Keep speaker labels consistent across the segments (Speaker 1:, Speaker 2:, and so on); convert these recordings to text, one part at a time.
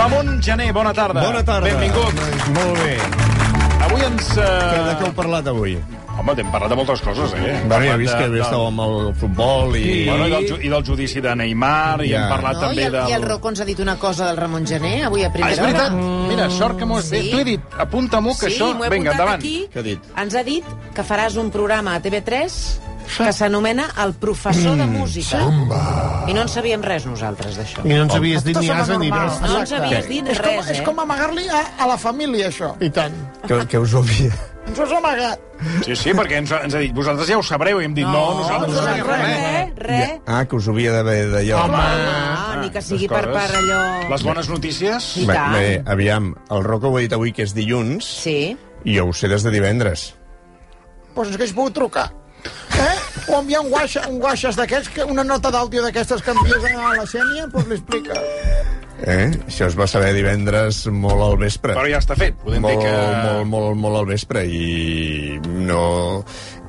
Speaker 1: Ramon Gené, bona tarda.
Speaker 2: Bona tarda.
Speaker 1: Benvingut.
Speaker 2: Molt bé.
Speaker 1: Avui ens...
Speaker 2: Que de què heu
Speaker 1: Eh...
Speaker 2: parlat avui?
Speaker 1: Home, t'hem parlat de moltes coses, eh? Hem
Speaker 2: Bueno, ja
Speaker 1: parlat
Speaker 2: he vist que
Speaker 1: de-
Speaker 2: bé
Speaker 1: de-
Speaker 2: estàveu amb el futbol i...
Speaker 1: I... Bueno, doncs i, del, ju- I del judici de Neymar, i
Speaker 2: Ja.
Speaker 1: hem parlat
Speaker 3: No,
Speaker 1: Ah, també
Speaker 3: i, el,
Speaker 1: del...
Speaker 3: I el Rocco ens ha dit una cosa del Ramon Gené, avui a
Speaker 1: Ah,
Speaker 3: primera
Speaker 1: és veritat.
Speaker 3: hora.
Speaker 1: Mira, sort que m'ho has dit.
Speaker 3: Sí.
Speaker 1: T'ho he dit. Apunta-m'ho, que
Speaker 3: sí,
Speaker 1: això...
Speaker 3: m'ho he
Speaker 1: Vinga,
Speaker 3: apuntat
Speaker 1: endavant.
Speaker 3: Aquí.
Speaker 2: Què ha dit?
Speaker 3: Ens ha dit que faràs un programa a TV3 que s'anomena El professor
Speaker 1: Mm,
Speaker 3: de música. Samba. I no en sabíem res nosaltres d'això.
Speaker 4: I no ens havies dit ni eh? asa ni res.
Speaker 3: No ens havies dit
Speaker 5: és com,
Speaker 3: res,
Speaker 5: és
Speaker 3: eh?
Speaker 5: com amagar-li a, a la família, això.
Speaker 4: I tant.
Speaker 2: Que, que us ho havia...
Speaker 5: Ens ho has amagat.
Speaker 1: Sí, sí, perquè ens, ens ha dit, vosaltres ja ho sabreu, i hem dit, no, nosaltres no sabem
Speaker 3: res,
Speaker 1: res.
Speaker 3: res, res.
Speaker 2: Ah, que us ho havia d'haver d'allò.
Speaker 3: Eh? Home, Ah, ni que
Speaker 1: Les
Speaker 3: sigui per
Speaker 1: coses.
Speaker 3: part allò...
Speaker 1: Les bones notícies...
Speaker 3: I
Speaker 2: Bé,
Speaker 3: tant.
Speaker 2: bé, aviam, el Rocco ho ha dit avui que és dilluns
Speaker 3: Sí.
Speaker 2: i jo ho sé des de divendres.
Speaker 5: Doncs pues ens hagués pogut trucar. Eh? O enviar un guaixa, un guaixes d'aquests, que una nota d'àudio d'aquestes que envies a la Xènia, doncs pues l'explica.
Speaker 2: Eh? Això es va saber divendres molt al vespre.
Speaker 1: Però ja està fet. Podem dir
Speaker 2: molt,
Speaker 1: que...
Speaker 2: molt, molt, molt al vespre i no...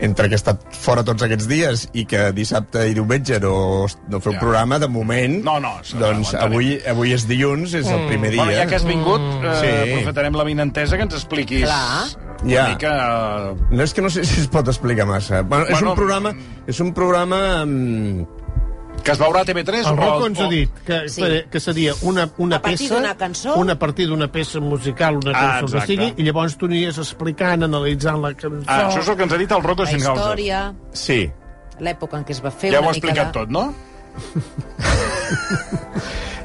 Speaker 2: Entre que he estat fora tots aquests dies i que dissabte i diumenge no, no feu
Speaker 1: Ja.
Speaker 2: programa, de moment,
Speaker 1: No, no, això no
Speaker 2: doncs
Speaker 1: aguantaré.
Speaker 2: avui, avui és dilluns, és
Speaker 4: Mm.
Speaker 2: el primer dia. Mm,
Speaker 1: Bueno, ja que has vingut, eh, sí.
Speaker 2: Sí.
Speaker 1: aprofitarem la vinentesa que ens expliquis
Speaker 3: Clar.
Speaker 1: una
Speaker 2: Ja.
Speaker 1: mica... eh,
Speaker 2: No és que no sé si es pot explicar massa. Bueno, és,
Speaker 1: Bueno,
Speaker 2: un programa, és un programa... mm,
Speaker 1: Que es veurà a TV3
Speaker 4: El
Speaker 1: o...
Speaker 4: Rocco ens
Speaker 1: o-
Speaker 4: ha dit que,
Speaker 3: Sí.
Speaker 4: sí. que seria una, una
Speaker 3: A partir
Speaker 4: peça...
Speaker 3: d'una cançó?
Speaker 4: Una partir d'una peça musical, una
Speaker 1: Ah,
Speaker 4: cançó que
Speaker 1: exacte.
Speaker 4: sigui, i llavors tu aniries explicant, analitzant la cançó...
Speaker 1: Ah, això és el que ens ha dit el Rocco
Speaker 3: La
Speaker 1: Sinhauser.
Speaker 3: història,
Speaker 2: Sí,
Speaker 3: l'època en què es va fer...
Speaker 1: Ja ho
Speaker 3: una
Speaker 1: ha
Speaker 3: mica
Speaker 1: explicat
Speaker 3: de-
Speaker 1: tot, no?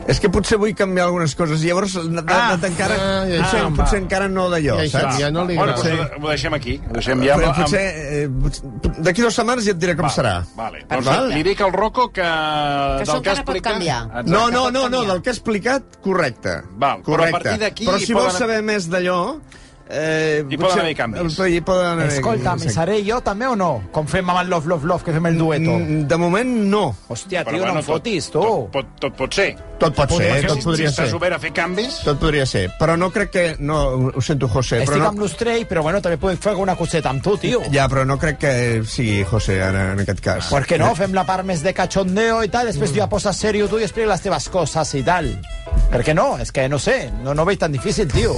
Speaker 2: És que potser vull canviar algunes coses i llavors he anat
Speaker 1: Ah.
Speaker 2: encara...
Speaker 4: Ah, ja,
Speaker 2: potser,
Speaker 1: ja,
Speaker 2: potser encara no d'allò,
Speaker 4: Ja, ja,
Speaker 2: saps?
Speaker 4: ja no li
Speaker 1: bueno,
Speaker 4: agrada.
Speaker 1: doncs ho- ho deixem aquí. Ho deixem ja amb,
Speaker 2: Però
Speaker 1: amb,
Speaker 2: potser, eh, potser- d'aquí dues setmanes ja et diré com serà.
Speaker 1: Vale. Doncs
Speaker 2: Val?
Speaker 1: li dic al Rocco que...
Speaker 3: Que això
Speaker 1: del que
Speaker 3: encara pot
Speaker 1: expliques-
Speaker 3: canviar.
Speaker 1: Exacte.
Speaker 2: No, no, no, no, del que he explicat, correcte.
Speaker 1: Val, però a
Speaker 2: correcte.
Speaker 1: partir d'aquí
Speaker 2: Però
Speaker 1: hi
Speaker 2: si vols
Speaker 1: poden-
Speaker 2: saber més d'allò... Eh,
Speaker 1: Hi poden
Speaker 2: potser-
Speaker 1: haver canvis.
Speaker 2: Hi poden haver...
Speaker 6: Eh, Escolta, ¿me
Speaker 2: Exacte.
Speaker 6: saré yo también o no? Com fem amb el Love, Love, Love, que fem el dueto.
Speaker 2: Mm, De moment, no.
Speaker 6: Hòstia,
Speaker 1: Però
Speaker 6: tio, no em
Speaker 1: tot-
Speaker 6: fotis, tu.
Speaker 1: Tot, pot, tot pot ser.
Speaker 2: Tot pot ser, eh,
Speaker 1: Perquè
Speaker 2: tot
Speaker 1: si,
Speaker 2: podria
Speaker 1: si
Speaker 2: ser.
Speaker 1: estàs obert a fer canvis...
Speaker 2: Tot podria ser. Però no crec que... No, ho sento, José,
Speaker 6: Estic
Speaker 2: Eh, però
Speaker 6: amb
Speaker 2: no...
Speaker 6: l'Ustrell, però bueno, també podem fer alguna coseta amb tu, tio.
Speaker 2: Ja, però no crec que sigui José, ara, en aquest cas.
Speaker 6: Per què no? Fem la part més de cachondeo i tal, després tu ja poses serio tu i expliques les teves coses i tal. Per què no? És que no sé, no, no ho veig tan difícil, tio.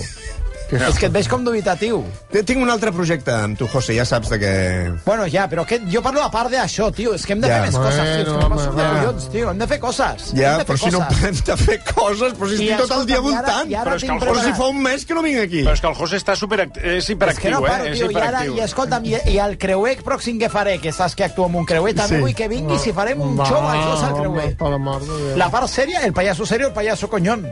Speaker 6: És que et veig com dubitatiu.
Speaker 2: Té- Tinc un altre projecte amb tu, José, ja saps de què...
Speaker 6: Bueno, ja, però que, jo parlo a part d'això, tio. És que hem de
Speaker 2: Ja.
Speaker 6: fer més
Speaker 4: Bueno,
Speaker 6: coses, tio. És que no
Speaker 4: home,
Speaker 6: passo de
Speaker 4: va.
Speaker 6: collons, tio. Hem de fer coses.
Speaker 2: Ja,
Speaker 6: hem de fer
Speaker 2: però si no
Speaker 6: coses.
Speaker 2: parem de fer coses, però si
Speaker 6: I
Speaker 2: estic tot el dia
Speaker 6: escolta'm, i ara-
Speaker 2: voltant.
Speaker 6: i ara
Speaker 2: Però,
Speaker 1: és que
Speaker 6: tinc
Speaker 1: els-
Speaker 2: però
Speaker 6: preparat-
Speaker 2: si fa un mes que no vinc aquí.
Speaker 1: Però és que el José està superact... és
Speaker 6: És que
Speaker 1: hiperactiu,
Speaker 6: no paro,
Speaker 1: eh? És
Speaker 6: tio, i ara,
Speaker 1: hiperactiu.
Speaker 6: i escolta'm, i, i el creuer pròxim que faré, que saps que actuo amb un creuer, també sí.
Speaker 4: Sí.
Speaker 6: vull que vingui si farem un show als dos al creuer.
Speaker 4: Home, per la mort de Déu.
Speaker 6: La part sèria, el pallasso serio, el pallasso conyón.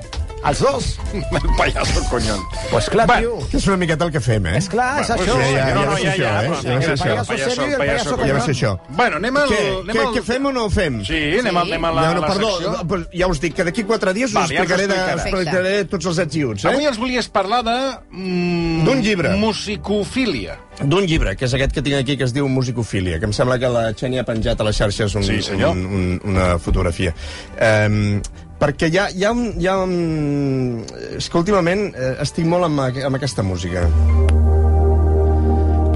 Speaker 6: Els dos.
Speaker 1: El pallasso, conyon.
Speaker 6: Pues clar,
Speaker 1: Va,
Speaker 6: tio.
Speaker 2: Que és una miqueta el que fem, eh?
Speaker 6: És clar, és
Speaker 1: Bueno,
Speaker 6: això.
Speaker 2: ja, ja,
Speaker 6: No, no,
Speaker 2: va ser això, eh?
Speaker 1: però
Speaker 2: Ja va ser
Speaker 1: el
Speaker 2: això.
Speaker 1: pallasso
Speaker 6: Pallasso
Speaker 1: serio i el
Speaker 6: pallasso
Speaker 1: pallasso
Speaker 6: conyón.
Speaker 2: Ja va
Speaker 1: conyon.
Speaker 2: ser això.
Speaker 1: Bueno, anem al...
Speaker 2: Què,
Speaker 1: anem
Speaker 2: què,
Speaker 1: al...
Speaker 2: què fem o no ho fem?
Speaker 1: Sí, anem, al- anem a la,
Speaker 2: no, no,
Speaker 1: la
Speaker 2: perdó,
Speaker 1: secció.
Speaker 2: però ja us dic que d'aquí quatre dies
Speaker 1: Val,
Speaker 2: us
Speaker 1: ja ens ho
Speaker 2: explicaré, de,
Speaker 1: explicaràs.
Speaker 2: explicaré tots els ets i uts,
Speaker 1: Avui
Speaker 2: eh?
Speaker 1: ens volies parlar de... Mm,
Speaker 2: D'un llibre.
Speaker 1: Musicofília.
Speaker 2: D'un llibre, que és aquest que tinc aquí, que es diu Musicofília, que em sembla que la Xènia ha penjat a les xarxes un,
Speaker 1: Sí, senyor.
Speaker 2: un, un, una fotografia. Um, perquè hi ha, hi ha, un, hi ha un... És que últimament eh, estic molt amb, aqu- amb aquesta música.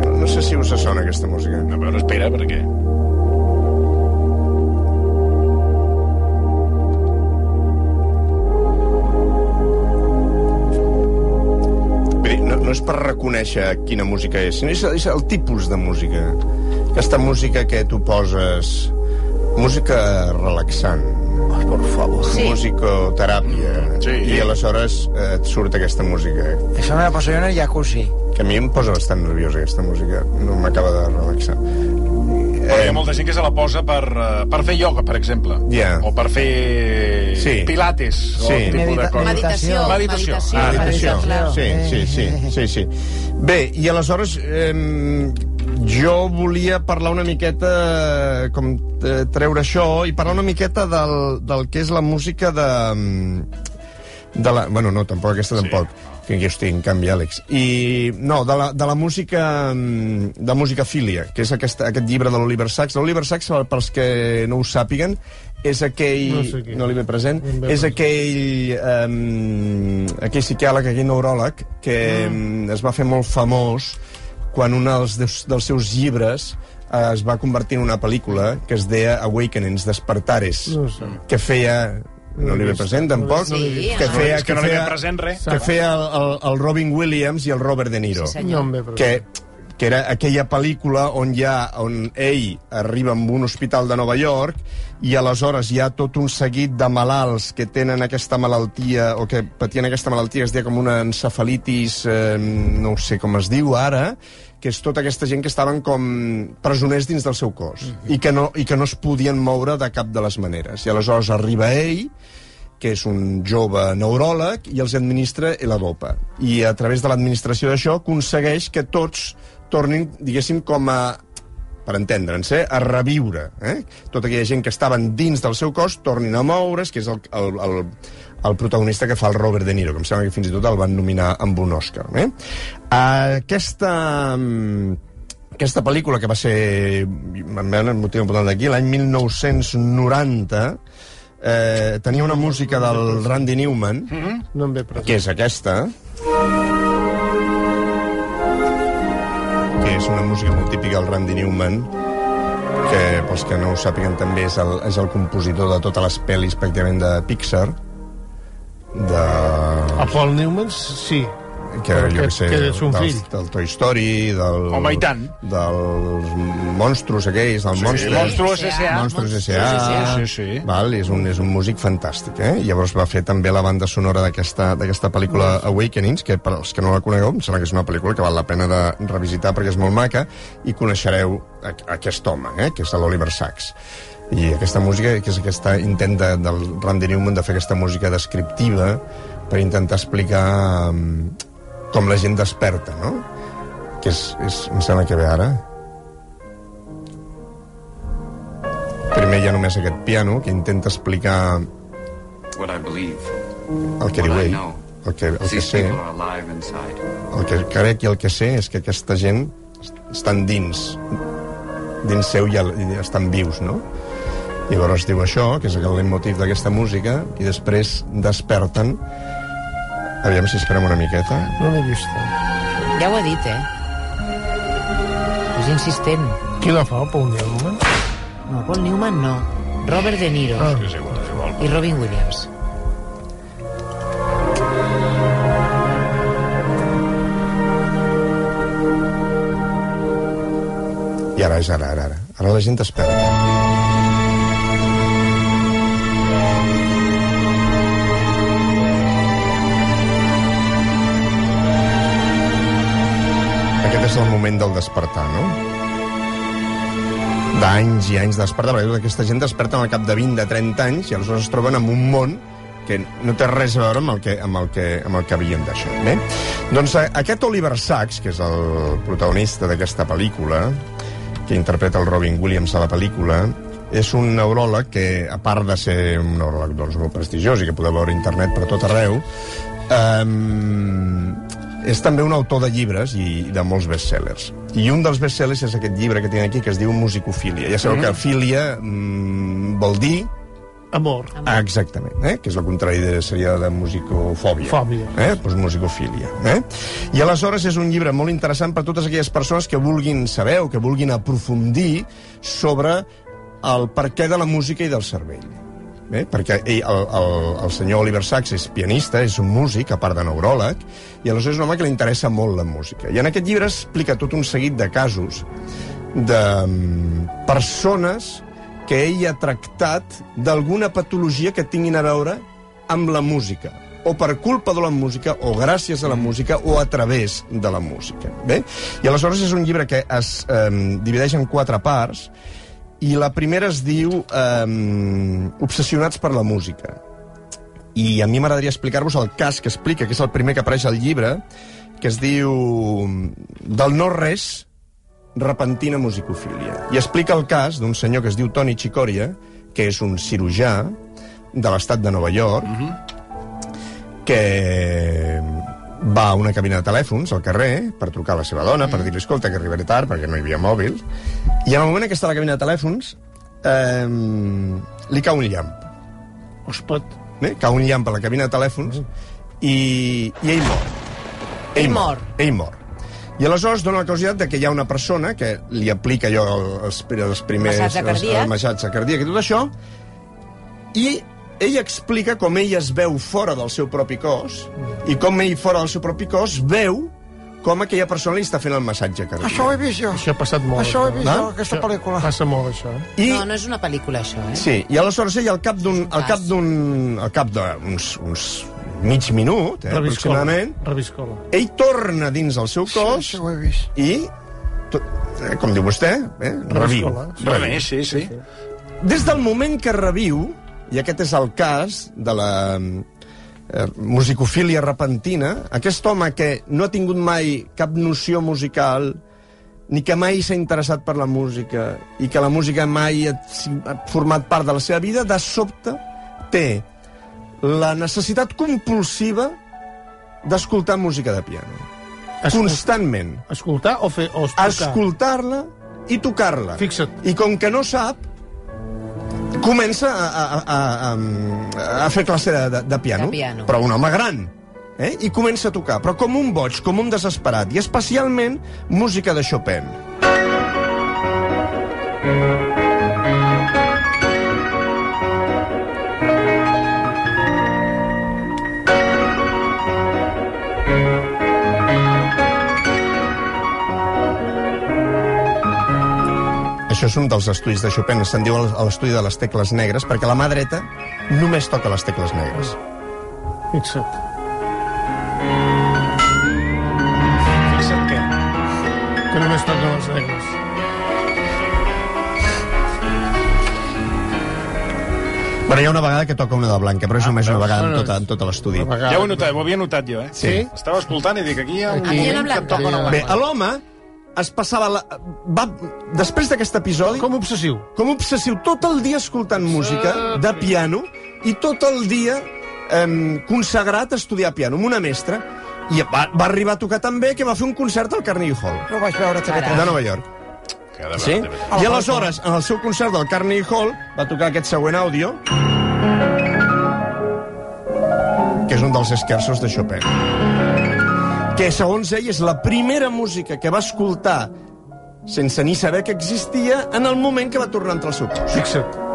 Speaker 2: No sé si us sona aquesta música.
Speaker 1: A veure, espera, perquè...
Speaker 2: Bé, no, no és per reconèixer quina música és, sinó és, és el tipus de música. Aquesta música que tu poses... Música relaxant. Oh, por favor. Sí. Musicoteràpia.
Speaker 1: Sí.
Speaker 2: I aleshores eh, et surt aquesta música.
Speaker 6: Això me la poso jo en el jacuzzi.
Speaker 2: Que a mi em posa bastant nerviós, aquesta música. No m'acaba de relaxar.
Speaker 1: Però hi ha molta gent que se la posa per, eh, per fer ioga, per exemple.
Speaker 2: Ja.
Speaker 1: O per fer
Speaker 2: Sí.
Speaker 1: pilates. O
Speaker 2: Sí.
Speaker 1: un tipus de
Speaker 6: Medita-
Speaker 1: coses.
Speaker 3: Meditació,
Speaker 1: Meditació.
Speaker 3: meditació.
Speaker 1: Ah,
Speaker 2: meditació.
Speaker 3: clar.
Speaker 2: Sí, sí, sí, sí, sí. Bé, i aleshores... Eh, Jo volia parlar una miqueta, eh, com eh, treure això, i parlar una miqueta del, del que és la música de... mm, de la, bueno, no, tampoc, aquesta tampoc. Que jo estic en canvi, Àlex. I, no, de la, de la música, mm, de música filia, que és aquesta, aquest llibre de l'Oliver Sacks. L'Oliver Sacks, pels que no ho sàpiguen, és aquell...
Speaker 4: No sé qui.
Speaker 2: no l'hi ve present.
Speaker 4: No em ve
Speaker 2: és
Speaker 4: present.
Speaker 2: aquell, um, aquell psiquiàleg, aquell neuròleg, que mm. es va fer molt famós quan un dels, deus- dels seus llibres eh, es va convertir en una pel·lícula que es deia Awakenings, Despertares,
Speaker 4: No sé.
Speaker 2: que feia... No l'hi ve present, tampoc.
Speaker 3: No l'he vist.
Speaker 2: que
Speaker 3: Sí,
Speaker 2: feia,
Speaker 1: és que no li ve present res.
Speaker 2: Que feia el, el, el Robin Williams i el Robert De Niro
Speaker 3: Sí, senyor.
Speaker 4: No em ve present.
Speaker 2: que, que era aquella pel·lícula on, hi ha, on ell arriba en un hospital de Nova York i aleshores hi ha tot un seguit de malalts que tenen aquesta malaltia o que patien aquesta malaltia, es deia com una encefalitis, eh, no ho sé com es diu ara, que és tota aquesta gent que estaven com presoners dins del seu cos i, que no, i que no es podien moure de cap de les maneres. I aleshores arriba ell que és un jove neuròleg, i els administra la dopa. I a través de l'administració d'això aconsegueix que tots tornin, diguéssim, com a per entendre'ns, eh? a reviure. Eh? Tota aquella gent que estaven dins del seu cos tornin a moure's, que és el, el, el, el protagonista que fa el Robert De Niro, que em sembla que fins i tot el van nominar amb un Òscar. Eh? Aquesta... mm, Aquesta pel·lícula, que va ser, em van motiu important d'aquí, l'any 1990, eh, tenia una música del Randy Newman,
Speaker 4: No em ve present.
Speaker 2: que és aquesta. Que és una música molt típica del Randy Newman, que, pels que no ho sàpiguen, també és el, és el compositor de totes les pel·lis pràcticament de Pixar, de...
Speaker 4: A Paul Newman, sí.
Speaker 2: Que,
Speaker 4: Ah, Però
Speaker 2: jo que sé,
Speaker 4: que és un
Speaker 2: dels,
Speaker 4: fill.
Speaker 2: del Toy Story, del,
Speaker 1: Home, i tant.
Speaker 2: dels monstros aquells, del sí, monstre.
Speaker 1: Monstruos S.A.
Speaker 2: Monstros
Speaker 1: S.A.
Speaker 2: S.A.
Speaker 1: Sí, sí, sí.
Speaker 2: Val, és, un, és un músic fantàstic, eh? I Llavors va fer també la banda sonora d'aquesta d'aquesta pel·lícula Awakenings, que per als que no la conegueu, em sembla que és una pel·lícula que val la pena de revisitar perquè és molt maca, i coneixereu a, a aquest home, eh? que és l'Oliver Sacks. I aquesta música, que és aquest intent de, del Randy Newman de fer aquesta música descriptiva per intentar explicar mm, com la gent desperta, no? Que és, és em sembla que ve ara. Primer hi ha només aquest piano que intenta explicar
Speaker 7: what I believe,
Speaker 2: el que
Speaker 7: what
Speaker 2: diu
Speaker 7: I
Speaker 2: ell.
Speaker 7: know.
Speaker 2: El que, el que
Speaker 7: These
Speaker 2: sé,
Speaker 7: people are alive inside.
Speaker 2: el que crec i el que sé és que aquesta gent est- estan dins, dins seu i, el, i estan vius, no? I llavors diu això, que és el leitmotiv d'aquesta música, i després desperten. Aviam si esperem una miqueta.
Speaker 4: No l'he vista.
Speaker 3: Ja ho ha dit, eh? És insistent.
Speaker 4: Qui la fa, Paul Newman?
Speaker 3: No, Paul Newman no. Robert De Niro ah.
Speaker 1: És igual, és igual.
Speaker 3: i Robin Williams.
Speaker 2: I ara és ara, ara, ara. Ara la gent eh? desperta. Aquest és el moment del despertar, no? D'anys i anys de despertar, perquè tota aquesta gent desperta al cap de 20, de 30 anys, i aleshores es troben en un món que no té res a veure amb el que, amb el que, amb el que havien deixat. Bé? Doncs eh, aquest Oliver Sacks, que és el protagonista d'aquesta pel·lícula, que interpreta el Robin Williams a la pel·lícula, és un neuròleg que, a part de ser un neuròleg doncs, molt prestigiós i que podeu veure a internet per tot arreu, um, és també un autor de llibres i, i de molts bestsellers. I un dels bestsellers és aquest llibre que tinc aquí que es diu Musicofília. Ja sabeu mm. que filia mm, vol dir
Speaker 4: Amor.
Speaker 2: Ah, exactament, eh? que és el contrari de, seria de musicofòbia.
Speaker 4: Fòbia.
Speaker 2: Eh? Pues musicofília. Eh? I aleshores és un llibre molt interessant per totes aquelles persones que vulguin saber o que vulguin aprofundir sobre el perquè de la música i del cervell. Eh? Perquè ell, el, el, el senyor Oliver Sacks és pianista, és un músic, a part de neuròleg, i aleshores és un home que li interessa molt la música. I en aquest llibre explica tot un seguit de casos de mm, persones que ell ha tractat d'alguna patologia que tinguin a veure amb la música o per culpa de la música, o gràcies a la música, o a través de la música. Bé? I aleshores és un llibre que es eh, divideix en quatre parts, i la primera es diu eh, Obsessionats per la música. I a mi m'agradaria explicar-vos el cas que explica, que és el primer que apareix al llibre, que es diu Del no res repentina musicofília. I explica el cas d'un senyor que es diu Tony Chicoria, que és un cirurgià de l'estat de Nova York, que va a una cabina de telèfons al carrer per trucar a la seva dona, per dir-li, escolta, que arribaré tard, perquè no hi havia mòbil. I en el moment que està a la cabina de telèfons, eh, li cau un llamp.
Speaker 4: Es pot...
Speaker 2: Eh? Cau un llamp a la cabina de telèfons i, i ell mor.
Speaker 3: Ell mor.
Speaker 2: Ell mor. I aleshores dona la casualitat de que hi ha una persona que li aplica allò el- els, pri- els primers...
Speaker 3: Massatge
Speaker 2: els-
Speaker 3: cardíac.
Speaker 2: El massatge cardíac i tot això, i ell explica com ell es veu fora del seu propi cos i com ell fora del seu propi cos veu com aquella persona li està fent el massatge cardíac.
Speaker 5: Això ho he vist jo.
Speaker 4: Això ha passat molt.
Speaker 5: Això ho he vist
Speaker 2: Ah?
Speaker 5: jo, aquesta
Speaker 4: Això-
Speaker 5: pel·lícula.
Speaker 4: Passa molt, això. eh?
Speaker 2: I
Speaker 3: No, no és una pel·lícula, això, eh?
Speaker 2: Sí, i aleshores ell al cap d'un...
Speaker 3: un
Speaker 2: al cap
Speaker 3: cas.
Speaker 2: d'un... al cap d'uns uns mig minut, eh,
Speaker 4: Reviscola.
Speaker 2: aproximadament,
Speaker 4: Reviscola.
Speaker 2: ell torna dins el seu cos
Speaker 5: Això ho he vist.
Speaker 2: i, to- eh, com diu vostè, eh, reviu.
Speaker 4: Reviscola.
Speaker 1: Sí, bé, sí, sí.
Speaker 2: Des del moment que reviu, i aquest és el cas de la eh, musicofília repentina, aquest home que no ha tingut mai cap noció musical, ni que mai s'ha interessat per la música, i que la música mai ha si- ha format part de la seva vida, de sobte té la necessitat compulsiva d'escoltar música de piano. Constantment
Speaker 4: Escoltar o fer... O tocar?
Speaker 2: escoltar-la i tocar-la.
Speaker 4: Fixa't.
Speaker 2: I com que no sap, comença a, a, a, a, a fer classe de, de, de, piano,
Speaker 3: De piano.
Speaker 2: però un home gran. Eh? I comença a tocar, però com un boig, com un desesperat, i especialment música de Chopin. Això és un dels estudis de Chopin, se'n diu el- l'estudi de les tecles negres, perquè la mà dreta només toca les tecles negres.
Speaker 4: Fixa't.
Speaker 1: Fixa't que...
Speaker 4: Que només toquen les negres.
Speaker 2: Però hi ha una vegada que toca una de blanca, però és només una vegada en
Speaker 4: Ah, no,
Speaker 2: tot, en tot l'estudi.
Speaker 4: Una vegada.
Speaker 1: Ja ho he notat, ho havia notat jo, eh?
Speaker 2: Sí.
Speaker 1: Estava escoltant i dic, aquí hi ha un
Speaker 3: Aquí hi ha una
Speaker 1: moment que
Speaker 3: blanca.
Speaker 1: et toca una
Speaker 2: Bé,
Speaker 1: blanca.
Speaker 2: l'home es passava... La... Va... Després d'aquest episodi...
Speaker 4: Com obsessiu.
Speaker 2: com obsessiu, tot el dia escoltant música de piano i tot el dia eh, consagrat a estudiar piano amb una mestra. I va, va arribar a tocar tan bé que va fer un concert al Carnegie Hall
Speaker 5: No ho vaig veure, xaqueta.
Speaker 2: de Nova York.
Speaker 1: Cada
Speaker 2: Sí?
Speaker 1: vegada bé.
Speaker 2: I aleshores, en el seu concert del Carnegie Hall, va tocar aquest següent àudio, que és un dels esquerços de Chopin, que, segons ell, és la primera música que va escoltar sense ni saber que existia en el moment que va tornar a entrar al seu cos.
Speaker 4: Fixa't.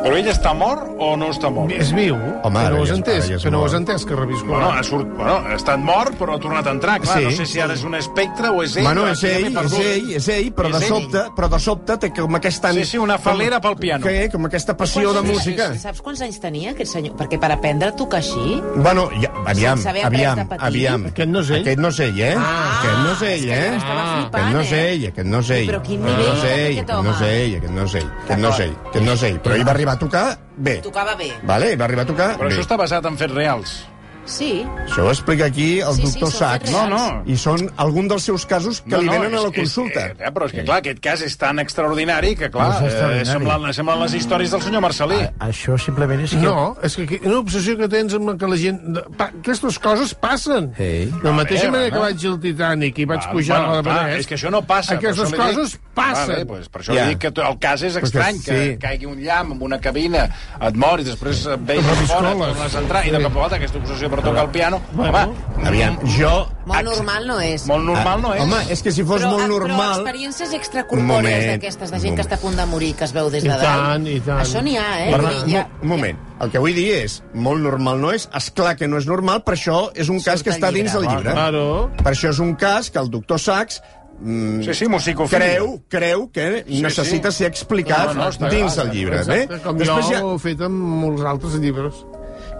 Speaker 1: Però ell està mort o no està mort?
Speaker 4: És viu, que
Speaker 2: ara
Speaker 4: no ho has
Speaker 2: ja és-
Speaker 4: entès,
Speaker 2: ara ja és
Speaker 4: que no ho has
Speaker 2: mort.
Speaker 4: entès, que
Speaker 1: Bueno,
Speaker 4: reviscola.
Speaker 1: ha, surt, bueno, ha estat mort, però ha tornat a entrar. Clar,
Speaker 2: Sí.
Speaker 1: no sé si ara és un espectre o és ell.
Speaker 2: Bueno,
Speaker 1: però
Speaker 2: és
Speaker 1: aquí ja
Speaker 2: ell,
Speaker 1: m'he
Speaker 2: és
Speaker 1: perdut.
Speaker 2: ell, és ell, però
Speaker 1: És
Speaker 2: de
Speaker 1: ell.
Speaker 2: sobte, però de sobte té com aquesta...
Speaker 1: Sí, sí, una falera pel piano.
Speaker 2: Que, com aquesta passió de
Speaker 3: Quants anys-
Speaker 2: música.
Speaker 3: Saps quants anys tenia aquest senyor? Perquè per aprendre a tocar així...
Speaker 2: Bueno, ja, aviam,
Speaker 3: Sense haver
Speaker 2: aviam,
Speaker 3: après de patir.
Speaker 2: aviam.
Speaker 4: Aquest no és ell.
Speaker 2: Aquest no és ell, eh?
Speaker 3: Ah,
Speaker 2: aquest no és ell,
Speaker 3: és que
Speaker 2: eh?
Speaker 3: jo estava flipant,
Speaker 2: aquest no és
Speaker 3: eh?
Speaker 2: ell, aquest no és ell.
Speaker 3: Però quin
Speaker 2: Aquest
Speaker 3: nivell
Speaker 2: no és ell,
Speaker 3: aquest
Speaker 2: aquest no és
Speaker 3: home.
Speaker 2: ell, aquest no és ell, aquest no és ell, aquest no és ell. Però ell va arribar a tocar bé.
Speaker 3: Tocava bé.
Speaker 2: Vale, va arribar a tocar
Speaker 1: Però
Speaker 2: bé.
Speaker 1: això està basat en fets reals.
Speaker 3: Sí.
Speaker 2: Això ho explica aquí el
Speaker 3: Sí, sí,
Speaker 2: doctor
Speaker 3: són
Speaker 2: Sachs.
Speaker 3: fets reals.
Speaker 1: No, no.
Speaker 2: I són algun dels seus casos que
Speaker 1: No,
Speaker 2: li
Speaker 1: no,
Speaker 2: venen a
Speaker 1: és-
Speaker 2: la consulta. Doncs
Speaker 1: És, és, eh, però és que, clar, aquest cas és tan extraordinari que, clar,
Speaker 8: No és
Speaker 1: eh,
Speaker 8: extraordinari.
Speaker 1: semblen, semblen
Speaker 2: Ah.
Speaker 1: les històries del senyor Marcelí.
Speaker 8: Això simplement és que...
Speaker 4: No, és que aquí- una obsessió que tens amb la que la gent... Pa, aquestes coses passen.
Speaker 8: Ei.
Speaker 4: De la mateixa
Speaker 1: Vale,
Speaker 4: manera que
Speaker 1: vale.
Speaker 4: vaig al Titanic i vaig
Speaker 1: Ah,
Speaker 4: pujar
Speaker 1: bueno,
Speaker 4: a la
Speaker 1: clar,
Speaker 4: Benet...
Speaker 1: és que això no passa. per
Speaker 4: Aquestes
Speaker 1: això li dic-
Speaker 4: coses passen.
Speaker 1: Vale, doncs per això
Speaker 2: Ja.
Speaker 1: yeah. dic que to- el cas és estrany, que
Speaker 2: sí.
Speaker 1: caigui un llamp en una cabina, et mor i després et veus a fora, et
Speaker 4: Reviscoles.
Speaker 1: tornes a entrar, i de cop a volta aquesta obsessió per tocar el piano,
Speaker 4: Bueno.
Speaker 1: home, mm,
Speaker 2: Aviam, jo... Ah,
Speaker 3: Molt normal no és.
Speaker 1: molt normal no és.
Speaker 2: Home, és que si fos
Speaker 3: però,
Speaker 2: molt
Speaker 3: Però
Speaker 2: normal...
Speaker 3: experiències
Speaker 2: Un
Speaker 3: extracorpòrees
Speaker 2: moment,
Speaker 3: d'aquestes, de
Speaker 2: un
Speaker 3: gent que
Speaker 2: moment.
Speaker 3: està a punt de morir, que es veu des
Speaker 4: I
Speaker 3: de dalt.
Speaker 4: tant, i tant.
Speaker 3: Això n'hi ha, eh?
Speaker 2: Per,
Speaker 3: Vull dir, hi ha-
Speaker 2: un moment, el que vull dir és, molt normal no és, és clar que no és normal, per això és un cas
Speaker 3: Surt
Speaker 2: que
Speaker 3: al
Speaker 2: està
Speaker 3: llibre.
Speaker 2: dins del llibre.
Speaker 4: Claro.
Speaker 2: Per això és un cas que el doctor Sachs mm,
Speaker 1: Sí, sí, musicofília.
Speaker 2: creu, creu que necessita
Speaker 1: sí.
Speaker 2: ser explicat
Speaker 1: No, no, està
Speaker 2: dins
Speaker 1: clar,
Speaker 2: del llibre. Bé?
Speaker 8: eh?
Speaker 4: Exacte, com
Speaker 2: Després
Speaker 4: jo
Speaker 2: ja,
Speaker 4: ho he fet amb molts altres llibres.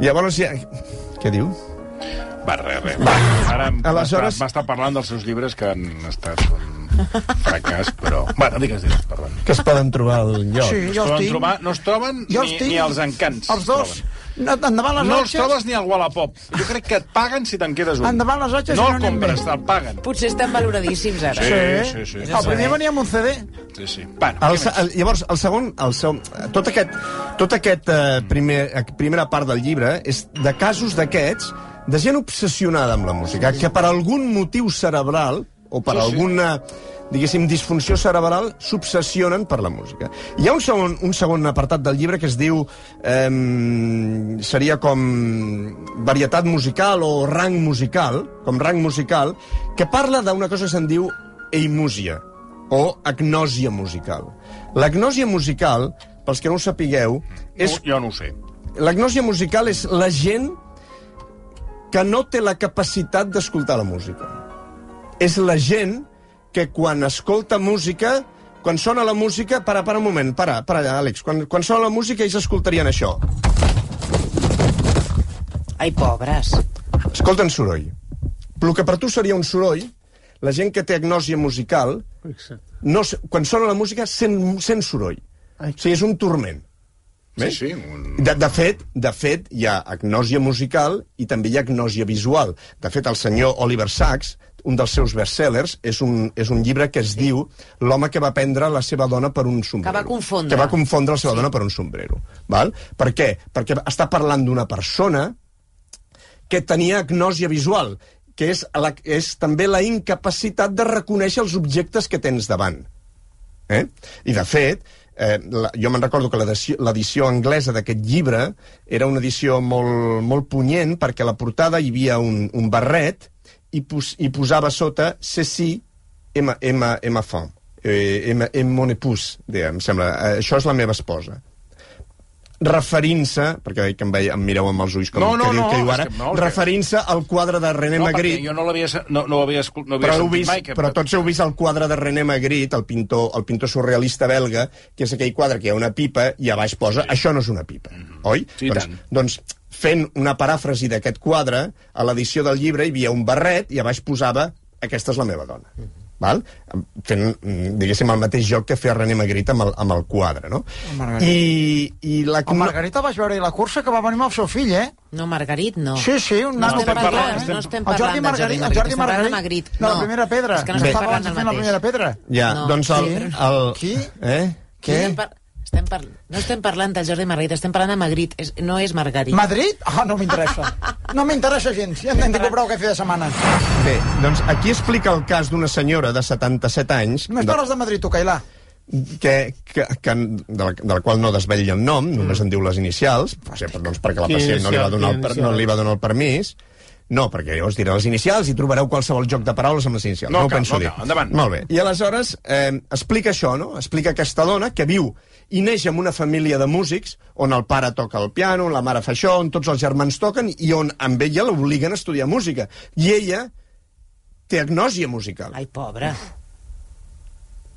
Speaker 2: llavors ja... Què diu?
Speaker 1: Va, res, res. Ara
Speaker 2: Aleshores-
Speaker 1: Aleshores... m'està parlant dels seus llibres que han estat un fracàs, però... Bueno, digues, digues, perdona.
Speaker 2: Que es poden trobar al lloc.
Speaker 5: Sí, jo
Speaker 1: no,
Speaker 5: els
Speaker 1: es
Speaker 5: tinc.
Speaker 1: trobar, no es troben
Speaker 5: Jo els
Speaker 1: ni,
Speaker 5: tinc.
Speaker 1: ni els encants.
Speaker 5: Els dos.
Speaker 1: es troben.
Speaker 5: No, endavant les
Speaker 1: No els
Speaker 5: hotxes.
Speaker 1: trobes ni al Wallapop. Jo crec que et paguen si te'n quedes un.
Speaker 5: Endavant les hotxes i
Speaker 1: No
Speaker 5: no
Speaker 1: el
Speaker 5: anem
Speaker 1: compres,
Speaker 5: bé.
Speaker 1: te'l paguen.
Speaker 3: Potser estan valoradíssims ara.
Speaker 1: Sí, sí,
Speaker 5: Sí.
Speaker 1: sí.
Speaker 5: El primer venia amb un CD.
Speaker 1: sí, sí. Bueno,
Speaker 2: El,
Speaker 1: què
Speaker 2: se-
Speaker 1: més?
Speaker 2: el, llavors, el segon... El segon tot aquest, tot aquest eh, primer, eh, primera part del llibre és de casos d'aquests de gent obsessionada amb la música, que per algun motiu cerebral o per
Speaker 1: Sí, sí.
Speaker 2: alguna diguéssim, disfunció cerebral, s'obsessionen per la música. Hi ha un segon, un segon apartat del llibre que es diu... Eh, seria com varietat musical o rang musical, com rang musical, que parla d'una cosa que se'n diu eimúsia, o agnòsia musical. L'agnòsia musical, pels que no ho sapigueu, és
Speaker 1: No, Jo no ho sé.
Speaker 2: L'agnòsia musical és la gent que no té la capacitat d'escoltar la música. És la gent que quan escolta música, quan sona la música... Para, para un moment, para, para allà, Àlex. Quan, quan sona la música ells escoltarien això.
Speaker 3: Ai, pobres.
Speaker 2: Escolten soroll. El que per tu seria un soroll, la gent que té agnòsia musical, no, s- quan sona la música sent, sent soroll. O sigui, és un torment.
Speaker 1: Sí, sí. Un...
Speaker 2: De, de, fet, de fet, hi ha agnòsia musical i també hi ha agnòsia visual. De fet, el senyor Oliver Sacks, un dels seus bestsellers, és un, és un llibre que es sí. diu L'home que va prendre la seva dona per un sombrero.
Speaker 3: va confondre.
Speaker 2: Que va confondre la seva sí. dona per un sombrero. Val? Per què? Perquè està parlant d'una persona que tenia agnòsia visual, que és, la, és també la incapacitat de reconèixer els objectes que tens davant. Eh? I, de fet, eh, la, jo me'n recordo que l'edició l'edició anglesa d'aquest llibre era una edició molt, molt punyent perquè a la portada hi havia un, un barret i, pos, i posava sota Ceci M, M, M, Font. Eh, M, M, mon épouse, deia, em sembla. Eh, això és la meva esposa referint-se, perquè veig que em, veia, em mireu amb els ulls com
Speaker 1: No, no,
Speaker 2: que, diu,
Speaker 1: no,
Speaker 2: que diu
Speaker 1: és
Speaker 2: ara,
Speaker 1: que no, és que-
Speaker 2: referint-se al quadre de René
Speaker 1: No, perquè
Speaker 2: Magritte,
Speaker 1: jo no l'havia se- no, no havia, escol- no havia
Speaker 2: però, heu
Speaker 1: sentit
Speaker 2: vist,
Speaker 1: mai. Que...
Speaker 2: però tots heu vist el quadre de René Magritte, el pintor, el pintor surrealista belga, que és aquell quadre que hi ha una pipa i a baix posa, sí. això no és una pipa, mm -hmm. oi?
Speaker 1: Mhm. Sí, i
Speaker 2: doncs,
Speaker 1: tant.
Speaker 2: doncs, fent una paràfrasi d'aquest quadre, a l'edició del llibre hi havia un barret i a baix posava aquesta és la meva dona.
Speaker 5: Mhm.
Speaker 2: Mm -hmm. Val? fent, mm, diguéssim, el mateix joc que feia René Magritte amb el, amb el quadre, no?
Speaker 5: Oh, Margarita.
Speaker 2: I, i la...
Speaker 5: Amb Margarita vaig veure la cursa que va venir amb el seu fill, eh?
Speaker 3: No, Margarit, no.
Speaker 5: Sí, sí, un
Speaker 3: No
Speaker 5: nano
Speaker 3: estem
Speaker 5: per
Speaker 3: parlant,
Speaker 5: allà, eh?
Speaker 3: no estem
Speaker 5: El Jordi
Speaker 3: parlant del
Speaker 5: Margarit,
Speaker 3: Jordi
Speaker 5: el
Speaker 3: Margarit,
Speaker 5: Jordi
Speaker 3: estem parlant de
Speaker 5: Margarit.
Speaker 3: Magritte.
Speaker 5: No, la
Speaker 3: No.
Speaker 5: primera pedra.
Speaker 3: És que no
Speaker 5: Bé.
Speaker 3: estem
Speaker 5: Estava
Speaker 3: parlant
Speaker 5: abans de
Speaker 3: del
Speaker 5: fer la
Speaker 3: mateix.
Speaker 5: primera pedra.
Speaker 2: Ja,
Speaker 3: No.
Speaker 2: no. doncs el...
Speaker 3: Sí.
Speaker 2: el...
Speaker 5: Qui?
Speaker 2: Eh?
Speaker 3: Què? Estem par... Estem par... No estem parlant del Jordi Margarit, estem parlant de Magritte. És... No és Margarit.
Speaker 5: Madrid? Ah, no m'interessa. No m'interessa gens. Ja en tinc prou que fer de setmana.
Speaker 2: Bé, doncs aquí explica el cas d'una senyora de 77 anys...
Speaker 5: Només
Speaker 2: de-
Speaker 5: parles de Madrid, tu, Cailà.
Speaker 2: que, que, que, de, la, de la qual no desvetlla el nom, només
Speaker 1: Mm.
Speaker 2: en diu les inicials, per exemple, doncs, perquè la
Speaker 4: Quina
Speaker 2: pacient no li, va
Speaker 4: inicial?
Speaker 2: donar el,
Speaker 4: Quina
Speaker 2: per-
Speaker 4: inicial?
Speaker 2: no li va donar el permís, no, perquè llavors diré les inicials i trobareu qualsevol joc de paraules amb les inicials.
Speaker 1: No
Speaker 2: No, no ho
Speaker 1: cal,
Speaker 2: penso
Speaker 1: no
Speaker 2: dir.
Speaker 1: cal, endavant.
Speaker 2: Molt bé. I aleshores eh, explica això, no? Explica aquesta dona que viu i neix en una família de músics on el pare toca el piano, on la mare fa això, on tots els germans toquen i on amb ella l'obliguen a estudiar música. I ella té agnòsia musical.
Speaker 3: Ai, pobre.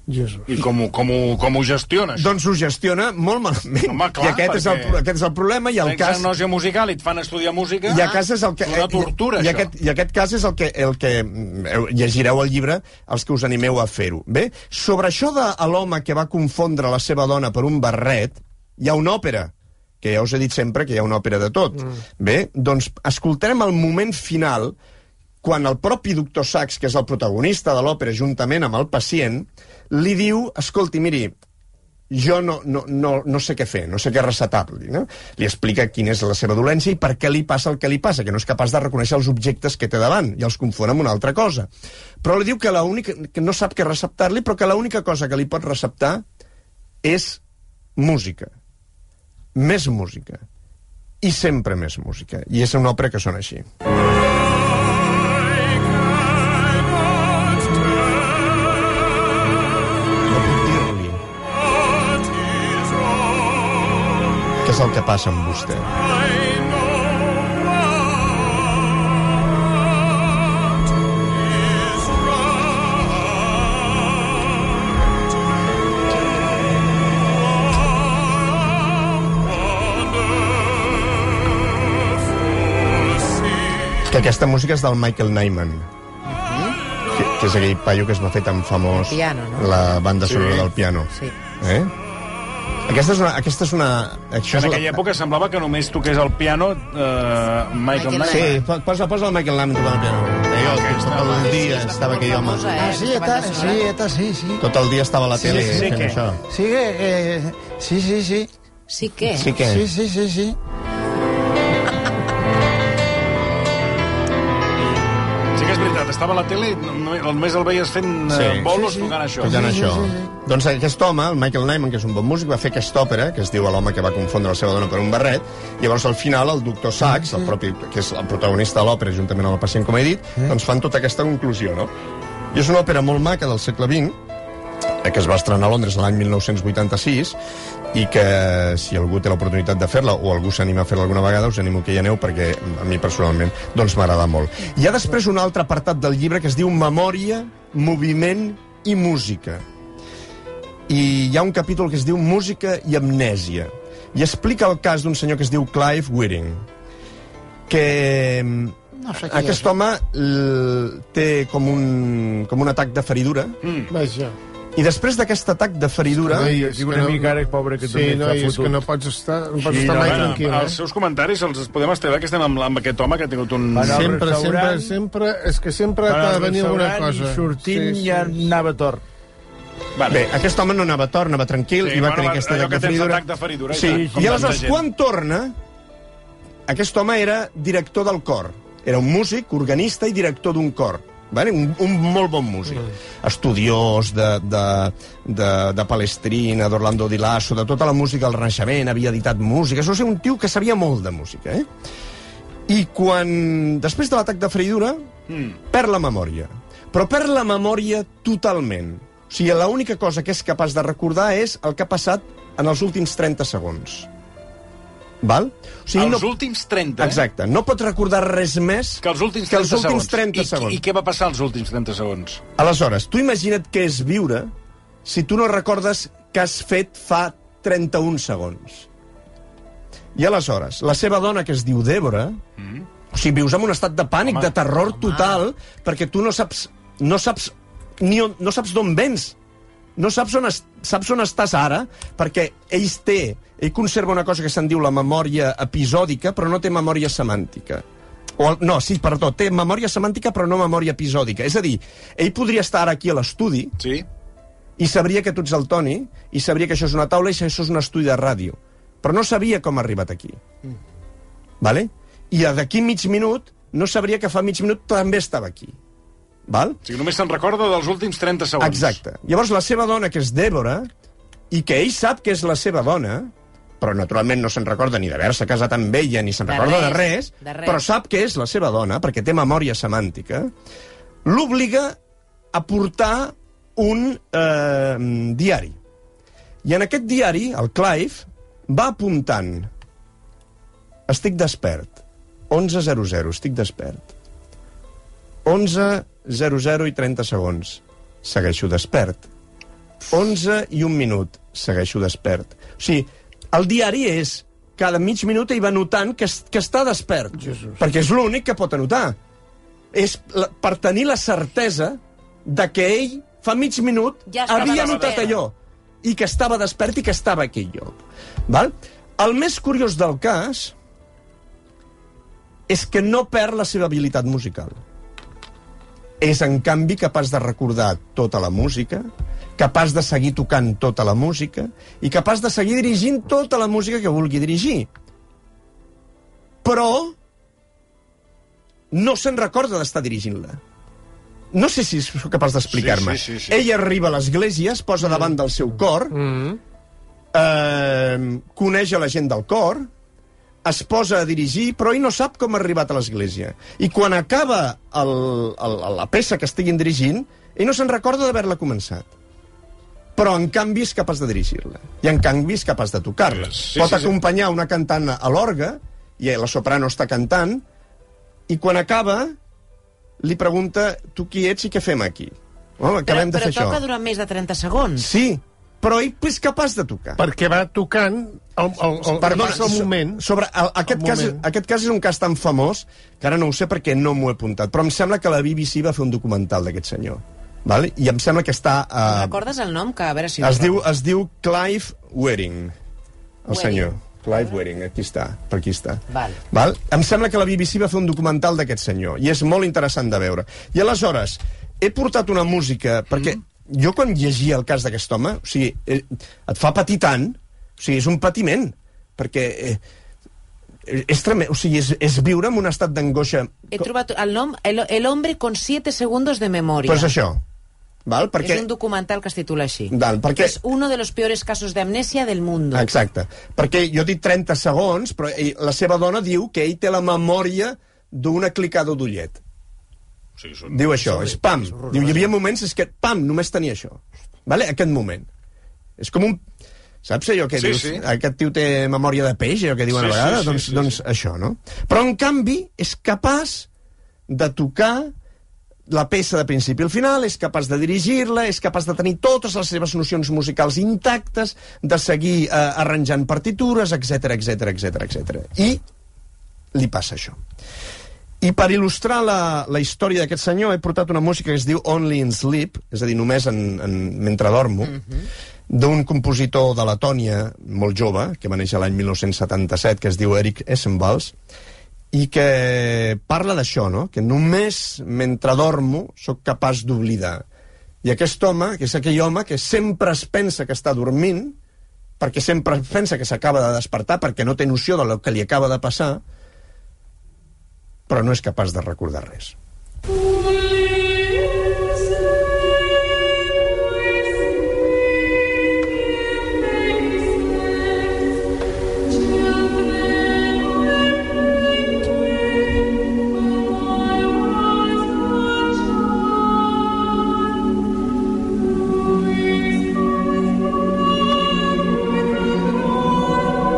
Speaker 4: Jesús.
Speaker 1: I com, ho- com, ho, com ho gestiona, això?
Speaker 2: Doncs ho gestiona molt malament.
Speaker 1: Home, clar,
Speaker 2: I aquest, és el,
Speaker 1: perquè-
Speaker 2: pro- aquest és el problema i el
Speaker 1: Tens
Speaker 2: cas...
Speaker 1: agnòsia musical i et fan estudiar música...
Speaker 2: I a casa és el que... eh,
Speaker 1: És una tortura,
Speaker 2: i, i
Speaker 1: això.
Speaker 2: aquest, I aquest cas és el que, el que mm, heu- llegireu el llibre els que us animeu a fer-ho. Bé, sobre això de a l'home que va confondre la seva dona per un barret, hi ha una òpera, que ja us he dit sempre que hi ha una òpera de tot. Mm. Bé, doncs escoltarem el moment final quan el propi doctor Sachs, que és el protagonista de l'òpera, juntament amb el pacient, li diu, escolti, miri, jo no, no, no, no sé què fer, no sé què recetar-li. No? Li explica quina és la seva dolència i per què li passa el que li passa, que no és capaç de reconèixer els objectes que té davant i els confon amb una altra cosa. Però li diu que, l'única- que no sap què receptar-li, però que l'única cosa que li pot receptar és música. Més música. I sempre més música. I és una òpera que sona així. No puc dir-li Què és el que passa amb vostè? Que aquesta música és del Michael Nyman. Que, que és aquell paio que es va fer tan famós
Speaker 3: El piano, no?
Speaker 2: la banda sonora del piano.
Speaker 3: Sí.
Speaker 2: Eh? Aquesta és una... Aquesta és una això
Speaker 1: En
Speaker 2: és la-
Speaker 1: aquella època semblava que només toqués el piano eh, Michael
Speaker 3: Michael
Speaker 1: Knight.
Speaker 2: Sí, Eh, po- posa, posa el Michael Lamb tocant el piano. Eh, Jo, que tot el dia estava aquell home.
Speaker 3: famosa, eh?
Speaker 5: Ah, sí,
Speaker 3: aquesta
Speaker 5: eta,
Speaker 3: banda
Speaker 5: sí,
Speaker 3: sonora.
Speaker 5: eta, sí, sí.
Speaker 2: Tot el dia estava a la
Speaker 1: Sí,
Speaker 2: tele
Speaker 1: sí,
Speaker 2: fent
Speaker 1: que-
Speaker 2: això.
Speaker 5: Sí, eh, eh, sí, sí, sí.
Speaker 3: Sí que...
Speaker 2: Sí que...
Speaker 5: Sí, sí, sí, sí.
Speaker 1: Sí que és veritat, estava a la tele i no- no- només el veies fent sí.
Speaker 2: Sí.
Speaker 1: bolos
Speaker 5: Sí, sí.
Speaker 1: tocant això.
Speaker 2: Tocant
Speaker 5: Sí, sí,
Speaker 2: això.
Speaker 5: sí, sí.
Speaker 2: Doncs aquest home, el Michael Nyman, que és un bon músic, va fer aquesta òpera, que es diu a l'home que va confondre la seva dona per un barret, llavors al final el doctor Sachs, el propi, que és el protagonista de l'òpera, juntament amb el pacient, com he dit, doncs fan tota aquesta conclusió, no? I és una òpera molt maca del segle XX, eh, que es va estrenar a Londres l'any 1986 i que si algú té l'oportunitat de fer-la o algú s'anima a fer-la alguna vegada us animo que hi aneu perquè a mi personalment doncs m'agrada molt. Hi ha després un altre apartat del llibre que es diu Memòria, Moviment i Música i hi ha un capítol que es diu Música i amnèsia i explica el cas d'un senyor que es diu Clive Whiting que no
Speaker 5: sé qui
Speaker 2: aquest
Speaker 5: és.
Speaker 2: home l- té com un, com un atac de feridura
Speaker 4: Mm. Vaja.
Speaker 2: i després d'aquest atac de feridura
Speaker 4: Ai,
Speaker 8: Dic una mica ara, pobre, que
Speaker 4: Sí,
Speaker 8: també
Speaker 4: no,
Speaker 8: està
Speaker 4: és
Speaker 8: fotut.
Speaker 4: que no pots estar, no pots
Speaker 1: I,
Speaker 4: estar mai
Speaker 1: bueno,
Speaker 4: tranquil. eh?
Speaker 2: eh?
Speaker 1: els seus comentaris els podem estrenar que estem amb, amb aquest home que ha tingut un...
Speaker 8: Bueno,
Speaker 1: Sí.
Speaker 4: Sempre, sempre,
Speaker 8: restaurant-
Speaker 4: sempre, és que sempre
Speaker 8: Van
Speaker 4: ha
Speaker 8: al
Speaker 4: de venir alguna
Speaker 8: restaurant
Speaker 4: cosa.
Speaker 8: I sortint sí, sí. ja anava tort.
Speaker 1: Vale.
Speaker 2: Bé, aquest home no anava tort, anava tranquil
Speaker 1: Sí,
Speaker 2: i va
Speaker 1: bueno,
Speaker 2: tenir aquest
Speaker 1: allò
Speaker 2: atac
Speaker 1: que
Speaker 2: de
Speaker 1: tens
Speaker 2: feridura.
Speaker 1: atac de feridura, i
Speaker 2: sí.
Speaker 1: tant, com
Speaker 2: I
Speaker 1: tanta
Speaker 2: aleshores,
Speaker 1: gent.
Speaker 2: quan torna, aquest home era director del cor. Era un músic, organista i director d'un cor. Vale? Un, un molt bon músic.
Speaker 1: Mm.
Speaker 2: Estudiós de, de, de, de Palestrina, d'Orlando Di Lasso, de tota la música del Renaixement, havia editat música. Això és un tio que sabia molt de música, eh? I quan, després de l'atac de feridura,
Speaker 1: Hmm.
Speaker 2: mm. perd la memòria. Però perd la memòria totalment. O sigui, l'única cosa que és capaç de recordar és el que ha passat en els últims 30 segons. Val? O sigui,
Speaker 1: Els
Speaker 2: no...
Speaker 1: últims 30, eh?
Speaker 2: Exacte. No pot recordar res més
Speaker 1: Que els últims 30
Speaker 2: que els últims
Speaker 1: segons.
Speaker 2: 30 segons.
Speaker 1: I, I què va passar els últims 30 segons?
Speaker 2: Aleshores, tu imagina't què és viure si tu no recordes que has fet fa 31 segons. I aleshores, la seva dona, que es diu Débora, mm. o sigui, vius en un estat de pànic, home, de terror home. total, perquè tu no saps, no saps, ni on, no saps d'on vens. No saps on, es, saps on estàs ara, perquè ell té, ell conserva una cosa que se'n diu la memòria episòdica, però no té memòria semàntica. O, el- no, sí, perdó, té memòria semàntica però no memòria episòdica. És a dir, ell podria estar ara aquí a l'estudi
Speaker 1: Sí?
Speaker 2: i sabria que tu ets el Toni, i sabria que això és una taula i que això és un estudi de ràdio. Però no sabia com ha arribat aquí. Vale? I a d'aquí mig minut no sabria que fa mig minut també estava aquí. Val?
Speaker 1: O sigui, només se'n recorda dels últims 30 segons.
Speaker 2: Exacte. Llavors, la seva dona, que és Débora, i que ell sap que és la seva dona, però naturalment no se'n recorda ni d'haver-se casat amb ella, ni se'n
Speaker 3: De
Speaker 2: recorda de
Speaker 3: res,
Speaker 2: res,
Speaker 3: de res.
Speaker 2: però sap que és la seva dona, perquè té memòria semàntica, l'obliga a portar un eh, diari. I en aquest diari, el Clive, va apuntant estic despert. 11.00, estic despert. 11.00 i 30 segons. Segueixo despert. 11 i un minut. Segueixo despert. O sigui, el diari és cada mig minut ell va notant que, es- que està despert. Jesus. Perquè és l'únic que pot anotar. És la, per tenir la certesa de que ell fa mig minut
Speaker 3: Ja estava
Speaker 2: havia
Speaker 3: despert.
Speaker 2: notat allò i que estava despert i que estava a aquell lloc. Val? El més curiós del cas és que no perd la seva habilitat musical. És, en canvi, capaç de recordar tota la música, capaç de seguir tocant tota la música i capaç de seguir dirigint tota la música que vulgui dirigir. Però no se'n recorda d'estar dirigint-la. No sé si sóc capaç d'explicar-me.
Speaker 1: Sí, sí, sí, sí.
Speaker 2: Ell arriba a l'església, es posa davant del seu cor,
Speaker 1: Mm.
Speaker 2: eh, coneix a la gent del cor, es posa a dirigir, però ell no sap com ha arribat a l'església. I quan acaba el, el, la peça que estiguin dirigint, ell no se'n recorda d'haver-la començat. Però, en canvi, és capaç de dirigir-la. I, en canvi, és capaç de tocar-la.
Speaker 1: Sí, sí,
Speaker 2: Sí, Pot
Speaker 1: sí.
Speaker 2: sí, acompanyar una cantant a l'orgue, i la soprano està cantant, i quan acaba, li pregunta, tu qui ets i què fem aquí? Oh,
Speaker 3: Però,
Speaker 2: acabem de
Speaker 3: però
Speaker 2: fer això.
Speaker 3: toca durant més de 30 segons.
Speaker 2: Sí, però ell és capaç de tocar.
Speaker 4: Perquè va tocant el, el, el,
Speaker 2: Perdona,
Speaker 4: passa el
Speaker 2: so-
Speaker 4: moment.
Speaker 2: Sobre el, aquest, el
Speaker 4: El
Speaker 2: cas,
Speaker 4: moment.
Speaker 2: aquest cas és un cas tan famós que ara no ho sé perquè no m'ho he apuntat, però em sembla que la BBC va fer un documental d'aquest senyor. Val? I em sembla que està...
Speaker 3: Te'n
Speaker 2: Eh,
Speaker 3: Recordes el nom? Que a veure si...
Speaker 2: es, diu, es diu Clive Wearing. el senyor. Clive Wedding, aquí està, per aquí està.
Speaker 3: Val.
Speaker 2: Val? Em sembla que la BBC va fer un documental d'aquest senyor, i és molt interessant de veure. I aleshores, he portat una música, perquè
Speaker 3: Mm.
Speaker 2: jo quan llegia el cas d'aquest home, o sigui, eh, et fa patir tant, o sigui, és un patiment, perquè... Eh, és, tremé, o sigui, és, és viure en un estat d'angoixa...
Speaker 3: He trobat el nom El, el hombre con 7 segundos de memoria.
Speaker 2: Pues això, val?
Speaker 3: Perquè...
Speaker 2: Perquè...
Speaker 3: És un documental que es titula així.
Speaker 2: Val, perquè- Ah,
Speaker 3: És uno de los peores casos de amnesia del mundo.
Speaker 2: Exacte. Perquè jo he dit 30 segons, però ell, la seva dona diu que ell té la memòria d'una clicada d'ullet.
Speaker 1: O sigui, són...
Speaker 2: Diu això, és pam. Diu, hi havia moments és que, pam, només tenia això. Vale? Aquest moment. És com un... Saps allò que
Speaker 1: Sí,
Speaker 2: dius?
Speaker 1: sí.
Speaker 2: Aquest tio té memòria de peix, allò que diuen
Speaker 1: Sí,
Speaker 2: a
Speaker 1: sí,
Speaker 2: vegades?
Speaker 1: sí,
Speaker 2: doncs,
Speaker 1: sí, sí.
Speaker 2: doncs això, no? Però, en canvi, és capaç de tocar la peça de principi al final, és capaç de dirigir-la, és capaç de tenir totes les seves nocions musicals intactes, de seguir eh, arranjant partitures, etc etc etc etc. I li passa això. I per il·lustrar la, la història d'aquest senyor he portat una música que es diu Only in Sleep, és a dir, només en, en, mentre dormo, mm
Speaker 1: Mhm.
Speaker 2: -hmm. d'un compositor de Letònia molt jove, que va néixer l'any 1977, que es diu Eric Essenbals, i que parla d'això, no? que només mentre dormo sóc capaç d'oblidar. I aquest home, que és aquell home que sempre es pensa que està dormint, perquè sempre pensa que s'acaba de despertar, perquè no té noció del que li acaba de passar, però no és capaç de recordar res.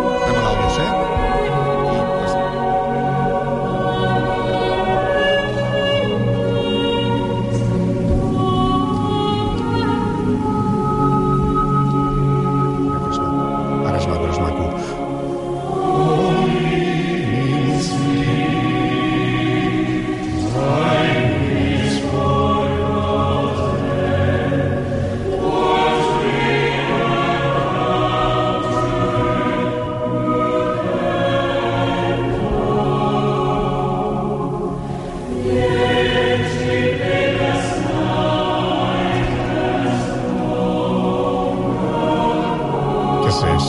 Speaker 2: Anem a l'Àudios, eh? Ara és maco, ara és maco. Que és, és,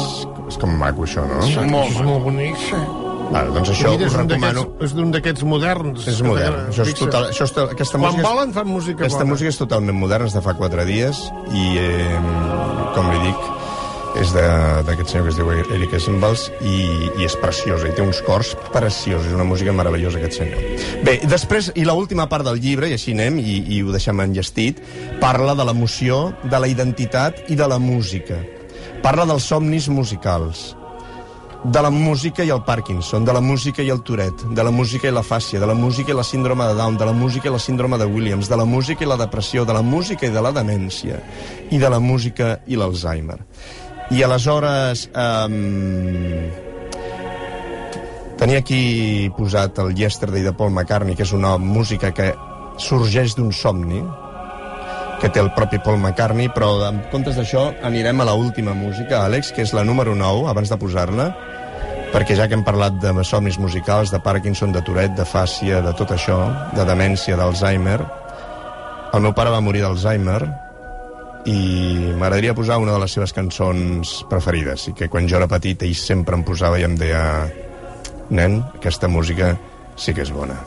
Speaker 2: és com maco, això, no?
Speaker 4: És molt, és molt bonic. Sí.
Speaker 2: Vale, doncs això
Speaker 4: Mira,
Speaker 2: ho
Speaker 4: és un
Speaker 2: recomano.
Speaker 4: d'aquests- és d'un d'aquests moderns.
Speaker 2: És modern. Això és
Speaker 4: Fixa't.
Speaker 2: total, això és, to- aquesta
Speaker 4: Quan
Speaker 2: música és-
Speaker 4: volen fan música
Speaker 2: Aquesta
Speaker 4: bona.
Speaker 2: música és totalment moderna, és de fa quatre dies, i, eh, com li dic, és de- d'aquest senyor que es diu Eric Essenbals, i, i és preciosa, i té uns cors preciosos, és una música meravellosa, aquest senyor. Bé, i després, i l'última part del llibre, i així anem, i, i ho deixem enllestit, parla de l'emoció, de la identitat i de la música. Parla dels somnis musicals de la música i el Parkinson, de la música i el Tourette, de la música i la fàcia, de la música i la síndrome de Down, de la música i la síndrome de Williams, de la música i la depressió, de la música i de la demència, i de la música i l'Alzheimer. I aleshores... Um, tenia aquí posat el Yesterday de Paul McCartney, que és una música que sorgeix d'un somni, que té el propi Paul McCartney, però en comptes d'això anirem a l'última música, Àlex, que és la número 9, abans de posar-la, perquè ja que hem parlat de somnis musicals, de Parkinson, de Tourette, de fàcia, de tot això, de demència, d'Alzheimer, el meu pare va morir d'Alzheimer i m'agradaria posar una de les seves cançons preferides i que quan jo era petit ell sempre em posava i em deia nen, aquesta música sí que és bona.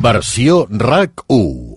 Speaker 9: Versió RAC 1